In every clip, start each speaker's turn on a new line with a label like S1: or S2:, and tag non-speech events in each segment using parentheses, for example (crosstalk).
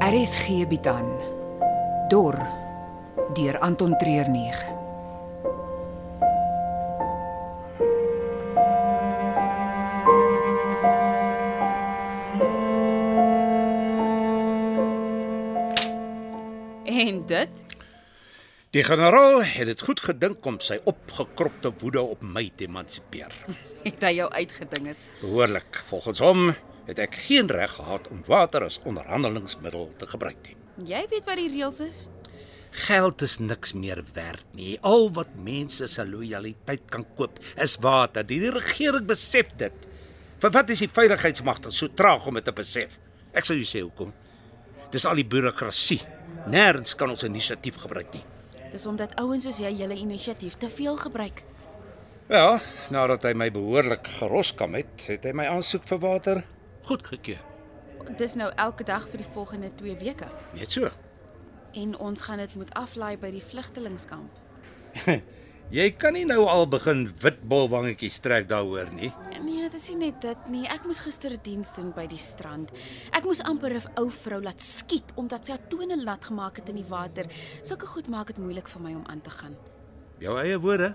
S1: RSG bied aan Dor deur Anton Treurnig.
S2: En dit?
S3: Die generaal het dit goed gedink om sy opgekropte woede op my te emansipeer.
S2: (laughs) Het hy jou uitgeding is?
S3: Behoorlik. Volgens hom het ek geen reg gehad om water as onderhandelingsmiddel te gebruik nie.
S2: Jy weet wat die reëls is?
S3: Geld is niks meer werd nie. Al wat mense se lojaliteit kan koop, is water. Die regering besef dit. Vir wat is die veiligheidsmagtig so traag om dit te besef? Ek sal jou sê hoekom. Dis al die bureaukrasie. Nêrens kan ons inisiatief gebruik nie.
S2: Dis omdat ouens soos jy julle inisiatief te veel gebruik.
S3: Wel, Ja, nadat hy my behoorlik geroskam het, het hy my aansoek vir water goedgekeur.
S2: Dis nou elke dag vir die volgende 2 weke
S3: Net so.
S2: en ons gaan dit moet aflaai by die vlugtelingskamp.
S3: Jy kan nie nou al begin witbolwangetjies trek daaroor nie.
S2: Nee, dit is nie net dit nie. Ek moes gister diens doen by die strand. Ek moes amper 'n ou vrou laat skiet omdat sy haar tone nat gemaak het in die water. Sulke goed maak dit moeilik vir my om aan te gaan.
S3: Jou eie woorde.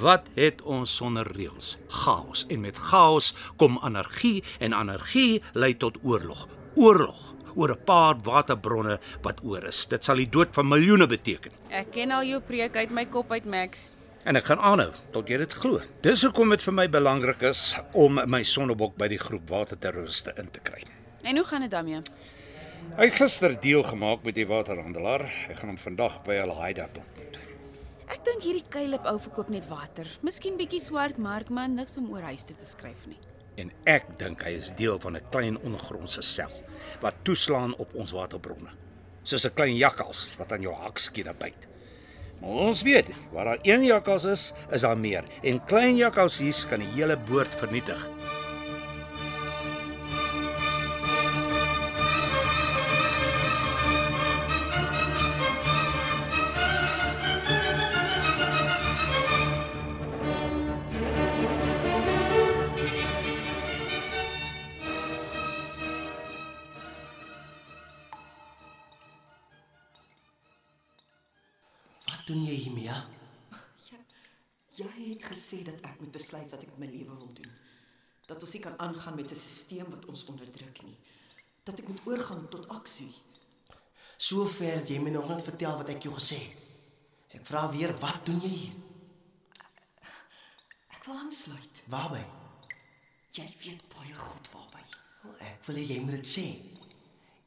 S3: Wat het ons sonder reëls? Chaos en met chaos kom anargie en anargie lei tot oorlog. Oorlog oor 'n paar waterbronne wat oor is. Dit sal die dood van miljoene beteken.
S2: Ek ken al jou preek uit my kop uit, Max.
S3: En ek gaan aanhou tot jy dit glo. Dis hoekom dit vir my belangrik is om my sonnebok by die groep waterterroriste in te kry.
S2: En hoe gaan dit daarmee?
S3: Hy het gister deel gemaak met die waterhandelaar. Ek gaan hom vandag by hulle hideout ontmoet.
S2: Ek dink hierdie Caleb ou verkoop net water. Miskien bietjie swart mark, maar niks om oor huis te, te skryf nie.
S3: en ek dink hy is deel van 'n klein ondergrondse sel wat toeslaan op ons waterbronne. Soos 'n klein jakkals wat aan jou hakskene byt. Maar ons weet, waar daar een jakkals is, is daar meer en klein jakkalsies kan die hele boord vernietig.
S4: Wat doen jy hiermee? ja?
S5: Jy het gesê dat ek moet besluit wat ek met my lewe wil doen. Dat ons nie kan aangaan met 'n stelsel wat ons onderdruk nie. Dat ek moet oorgaan tot aksie.
S4: So ver het jy my nog net vertel wat ek jou gesê het. Ek vra weer, wat doen jy hier?
S5: Ek wil aansluit.
S4: Waarby?
S5: Jy weet baie goed waarby.
S4: Wel, Ek wil hê jy moet dit sê.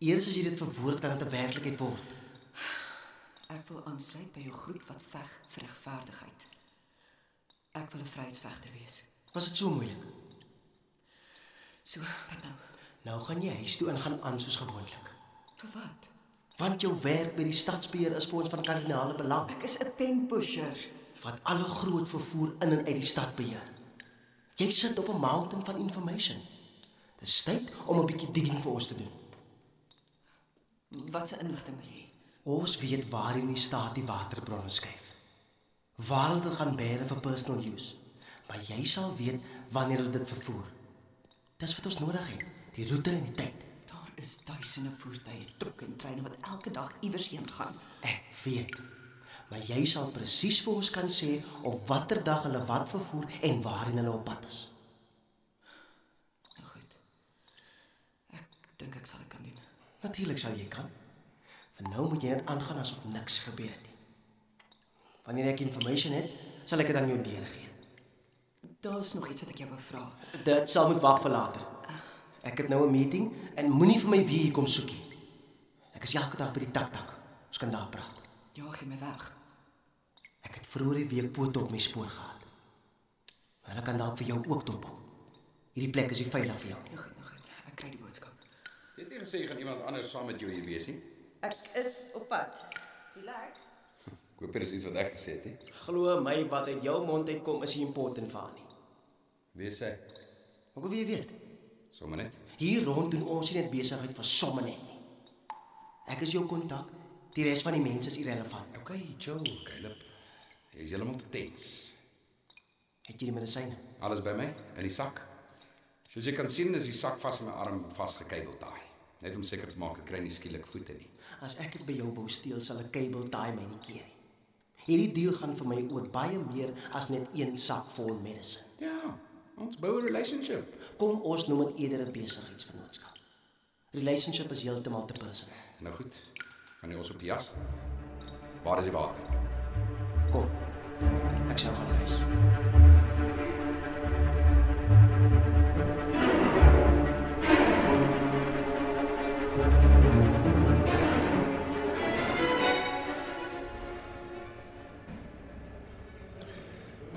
S4: Eers as jy dit verwoord kan dit 'n werklikheid word.
S5: Ek wil aansluit by jou groep wat veg vir regverdigheid. Ek wil 'n vryheidsvegter wees.
S4: Was dit so moeilik?
S5: So, wat nou?
S4: Nou gaan jy huis toe en gaan aan soos gewoonlik.
S5: Vir wat?
S4: Want jou werk by die stadsbeheer is vir ons van kardinale belang.
S5: Ek is 'n pen pusher.
S4: Wat alle groot vervoer in en uit die stad beheer. Jy sit op 'n mountain van information. Dis tyd om 'n bietjie digging vir ons te doen.
S5: Wat se inligting wil jy?
S4: Ons weet waar in die staat die waterbronne skuif. Waar hulle dit gaan bære vir personal use. Maar jy sal weet wanneer hulle dit vervoer. Dis wat ons nodig het, die roete en die tyd.
S5: Daar is duisende voertuie, trokke en treine wat elke dag iewers heen gaan.
S4: Ek weet. Maar jy sal presies vir ons kan sê op watter dag hulle wat vervoer en waarheen hulle op pad is.
S5: Nou goed. Ek dink ek sal dit kan doen.
S4: Natuurlik sal jy kan. Vir nou moet jy net aangaan asof niks gebeur het nie. Wanneer ek inligting het, sal ek dit aan jou deurgee.
S5: Daar's nog iets wat ek jou wou vra.
S4: Dit sal moet wag vir later. Ek het nou 'n meeting en moenie vir my weer hier kom soekie. Ek is elke dag by die taktak. Ons kan daar praat.
S5: Ja, gee my weg.
S4: Ek het vroeër die week pote op my spoor gehad. Hulle kan dalk vir jou ook dop hou. Hierdie plek is nie veilig vir jou nie.
S5: Nou goed, nou goed. Ek kry die boodskap.
S6: Jy het nie gesê jy gaan iemand anders saam met jou hier wees nie.
S5: Ek is op pad. Relax.
S6: Ek hoop dit is iets wat ek gesê het nie.
S4: Glo my wat uit jou mond uitkom is nie important vir haar nie.
S6: Wees hy
S4: Maar hoe wil jy weet?
S6: sommer net.
S4: Hier rond doen ons nie net besigheid vir somme net nie. Ek is jou kontak. Die res van die mense is irrelevant.
S6: Okay, Joe, Caleb. Jy is heeltemal te tens.
S4: Het jy die medisyne?
S6: Alles by my in die sak. Soos jy kan sien is die sak vas in my arm vasgekeibel daai. Net om seker te maak ek kry nie skielik voete nie.
S4: As ek dit by jou wou steel, sal 'n kabel tie my nie keer nie. Hierdie deal gaan vir my oor baie meer as net een sak vol medisyn.
S6: Ja, ons bou 'n relationship.
S4: Kom ons noem dit eerder 'n besigheidsvennootskap. Relationship is heeltemal te personal.
S6: Nou goed. Gaan jy ons op die jas? Waar is die water?
S4: Kom. Ek sal gaan wys.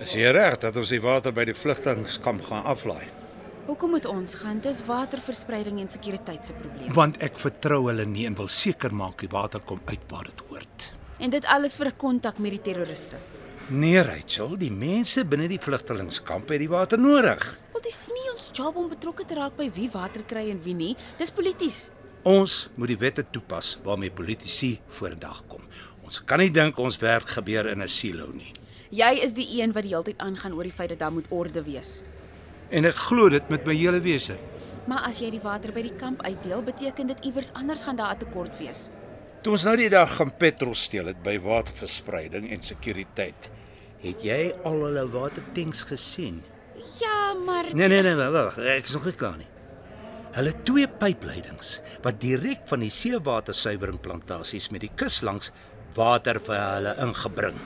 S3: Is jy reg dat ons die water by die vlugtelingkamp gaan aflaai?
S2: Hoekom moet ons gaan? Dis waterverspreiding en sekuriteitse probleme.
S3: Want ek vertrou hulle nie en wil seker maak die water kom uit waar dit hoort.
S2: En dit alles vir kontak met die terroriste.
S3: Nee, Rachel, die mense binne die vlugtelingkamp het die water nodig.
S2: Wel dis nie ons job om betrokke te raak by wie water kry en wie nie. Dis polities.
S3: Ons moet die wette toepas waarmee politici vorendag kom. Ons kan nie dink ons werk gebeur in 'n silo nie.
S2: Jy is die een wat die hele tyd aangaan oor die feit dat daar moet orde wees.
S3: En ek glo dit met my hele wese.
S2: Maar as jy die water by die kamp uitdeel, beteken dit iewers anders gaan daar 'n tekort wees.
S3: Toe ons nou die dag gaan petrol steel het by waterverspreiding en sekuriteit, het jy al hulle watertanks gesien?
S2: Ja, maar
S3: Nee nee nee, wa- wag, ek is nog nie klaar nie. Hulle twee pypleidings wat direk van die seewatersuiweringplantasies met die kus langs water vir hulle ingebring.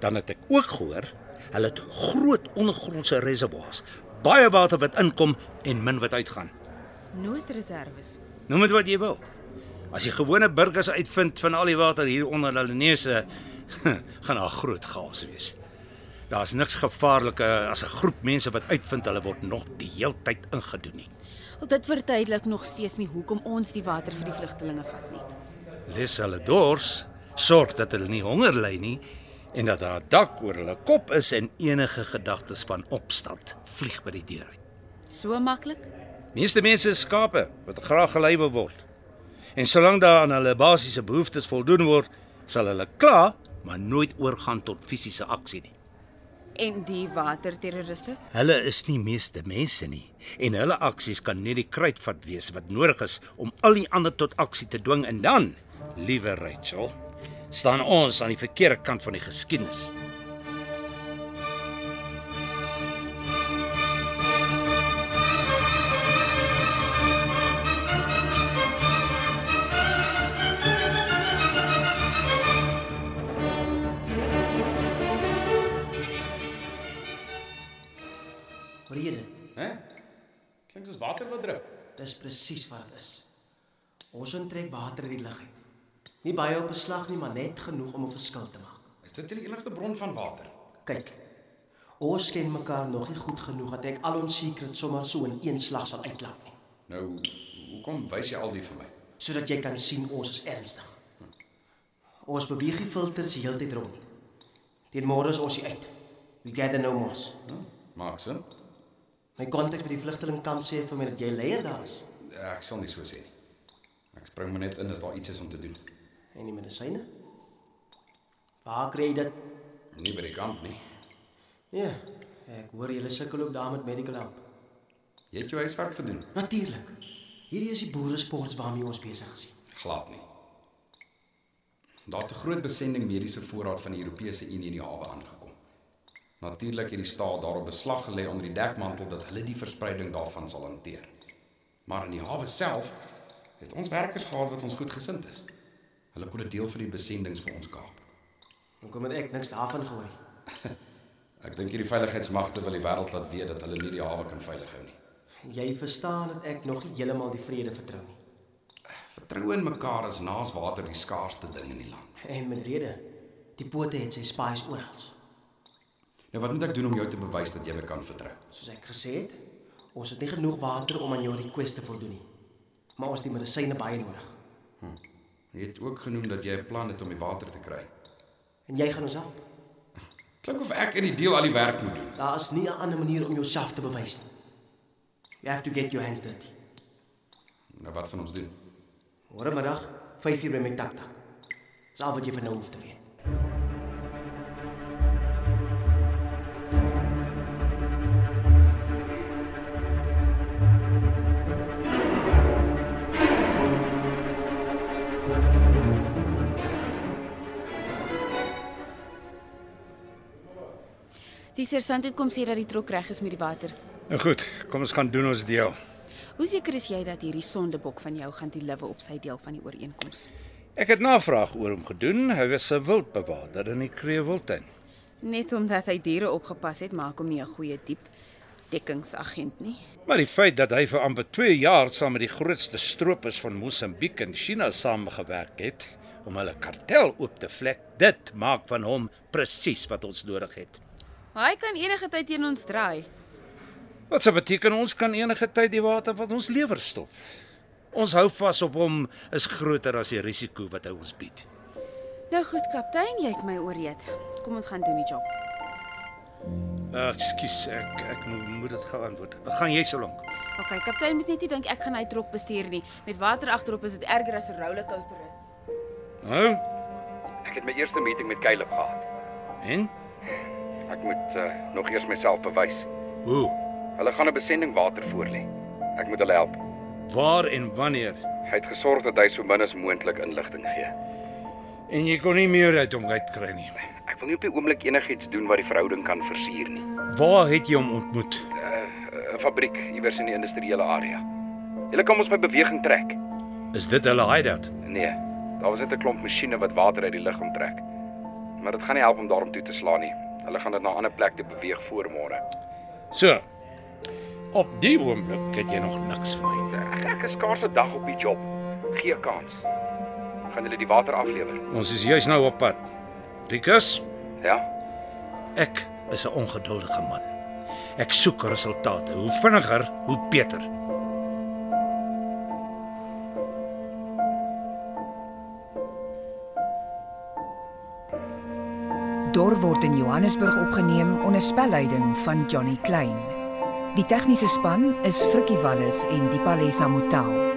S3: Dan het ek ook gehoor hulle het groot ondergrondse reservoirs, baie water wat inkom en min wat uitgaan.
S2: noodreserwes.
S3: Noem dit wat jy wil. As die gewone burgers uitvind van al die water hier onder hulle neuse, (laughs) gaan daar groot chaos wees. Daar's niks gevaarliker as 'n groep mense wat uitvind hulle word nog die heeltyd ingedoen nie.
S2: Wel dit verduidelik nog steeds nie hoekom ons die water vir die vlugtelinge vat nie.
S3: Les hulle dors, sorg dat hulle nie honger ly nie en dat daar 'n dak oor hulle kop is en enige gedagtes van opstand vlieg by die deur uit.
S2: So maklik?
S3: Meeste mense is skape wat graag gelei wil word. En solank daar aan hulle basiese behoeftes voldoen word, sal hulle kla, maar nooit oorgaan tot fisiese aksie nie.
S2: En die waterterroriste?
S3: Hulle is nie meeste mense nie en hulle aksies kan net die kruitvat wees wat nodig is om al die ander tot aksie te dwing en dan, liewe Rachel, staan ons aan die verkeerde kant van die geskiedenis.
S4: Hoor jy dit?
S6: Hè? Klink soos water wat drup.
S4: Dis presies wat dit is. Ons onttrek water uit die lug uit. Nie baie op beslag nie, maar net genoeg om 'n verskil te maak.
S6: Is dit julle enigste bron van water?
S4: Kyk. Ons ken mekaar nog nie goed genoeg dat ek al ons secrets sommer so in een slag sal uitklap nie,
S6: Nou, hoekom wys jy al die vir my?
S4: sodat jy kan sien ons is ernstig. Ons beweeg die filters die hele tyd rond. Teen môre is ons hier uit. We gather no more.
S6: Hm? Maak sin?
S4: My konteks by die vlugtelingkamp sê vir my dat jy leier daar is
S6: Ja, Ek sal nie so sê nie. Ek spring maar net in as daar iets is om te doen.
S4: en die medisyne. Waar kry jy dit?
S6: Nie by die kamp nie.
S4: Ja, ek hoor julle sukkel ook daar met medical help.
S6: Jy het jou huiswerk gedoen.
S4: Natuurlik. Hierdie is die boere sports waarmee ons besig is.
S6: Glad nie. Daar het 'n groot besending mediese voorraad van die Europese Unie in die hawe aangekom. Natuurlik het die staat daarop beslag gelê onder die dekmantel dat hulle die verspreiding daarvan sal hanteer. Maar in die hawe self het ons werkers gehad wat ons goed gesind is. Hulle kon 'n deel van die besendings vir ons kaap.
S4: Dan kom ek niks daarvan gehoor nie.
S6: Ek dink hierdie veiligheidsmagte wil die wêreld laat weet dat hulle nie die hawe kan veilig hou nie.
S4: Jy verstaan dat ek nog nie heeltemal die vrede vertrou nie.
S6: Vertroue in mekaar is naas water die skaarsste ding in die land.
S4: En met rede. Die pote het sy spies oral.
S6: Nou wat moet ek doen om jou te bewys dat jy my kan vertrou?
S4: Soos ek gesê het, ons het nie genoeg water om aan jou request te voldoen nie. Maar ons het die medisyne baie nodig.
S6: Jy het ook genoem dat jy 'n plan het om die water te kry.
S4: En jy gaan ons help.
S6: Klink of ek in die deel al die werk moet doen.
S4: Daar is nie 'n ander manier om jouself te bewys nie. You have to get your hands dirty.
S6: Nou wat gaan ons doen?
S4: Môre middag 5:00 by my tak tak. Dis al wat jy van nou hoef te weet.
S2: Die sergeant het kom sê dat die trok reg is met die water.
S3: Nou goed, kom ons gaan doen ons deel.
S2: Hoe seker is jy dat hierdie sondebok van jou gaan deliver op sy deel van die ooreenkoms?
S3: Ek het navraag oor hom gedoen. Hy was 'n wildbewaarder in die Kreewildtuin.
S2: Net omdat hy diere opgepas het, maak hom nie 'n goeie diep dekkingsagent nie.
S3: Maar die feit dat hy vir amper 2 jaar saam met die grootste stroopers van Mosambiek en China saamgewerk het om hulle kartel oop te vlek, dit maak van hom presies wat ons nodig het.
S2: Maar hy kan enige tyd teen ons draai.
S3: Wat se beteken ons kan enige tyd die water wat ons lewer stop. Ons hou vas op hom is groter as die risiko wat hy ons bied.
S2: Nou goed, kaptein, jy het my ooreed. Kom ons gaan doen die job.
S3: Uh, Ekskuus, ek ek moet- moet dit geantwoord. Gaan jy so lank?
S2: OK, kaptein moet net nie dink ek gaan hy trok bestuur nie. Met water agterop is dit erger as 'n rollercoaster rit.
S3: Nou,
S6: Ek het my eerste meeting met Caleb gehad.
S3: en
S6: Ek moet uh, nog eers myself bewys.
S3: hoe?
S6: Hulle gaan 'n besending water voor lê. Ek moet hulle help.
S3: Waar en wanneer?
S6: Hy het gesorg dat hy so min as moontlik inligting gee.
S3: En jy kon nie meer uit hom uitkry nie.
S6: Ek wil nie op die oomblik enigiets doen wat die verhouding kan versuur nie.
S3: Waar het jy hom ontmoet?
S6: 'n Fabriek iewers in die industriële area. Hulle kan ons by beweging trek.
S3: Is dit hulle hideout?
S6: Nee, daar was net 'n klomp masjiene wat water uit die lug onttrek. Maar dit gaan nie help om daarom toe te slaan nie. Hulle gaan dit na 'n ander plek toe beweeg voor môre.
S3: So. Op die oomblik het jy nog niks vir my.
S6: Ek, ek is skaars 'n dag op die job. Gee 'n kans. Gaan hulle die water aflewer?
S3: Ons is juis nou op pad. Rikus,
S6: Ja.
S3: ek is 'n ongeduldige man. Ek soek resultate. Hoe vinniger, hoe beter.
S1: Dor word in Johannesburg opgeneem onder spelleiding van Johnny Klein. Die tegniese span is Frikkie Wallis en Dipalesa Motelo.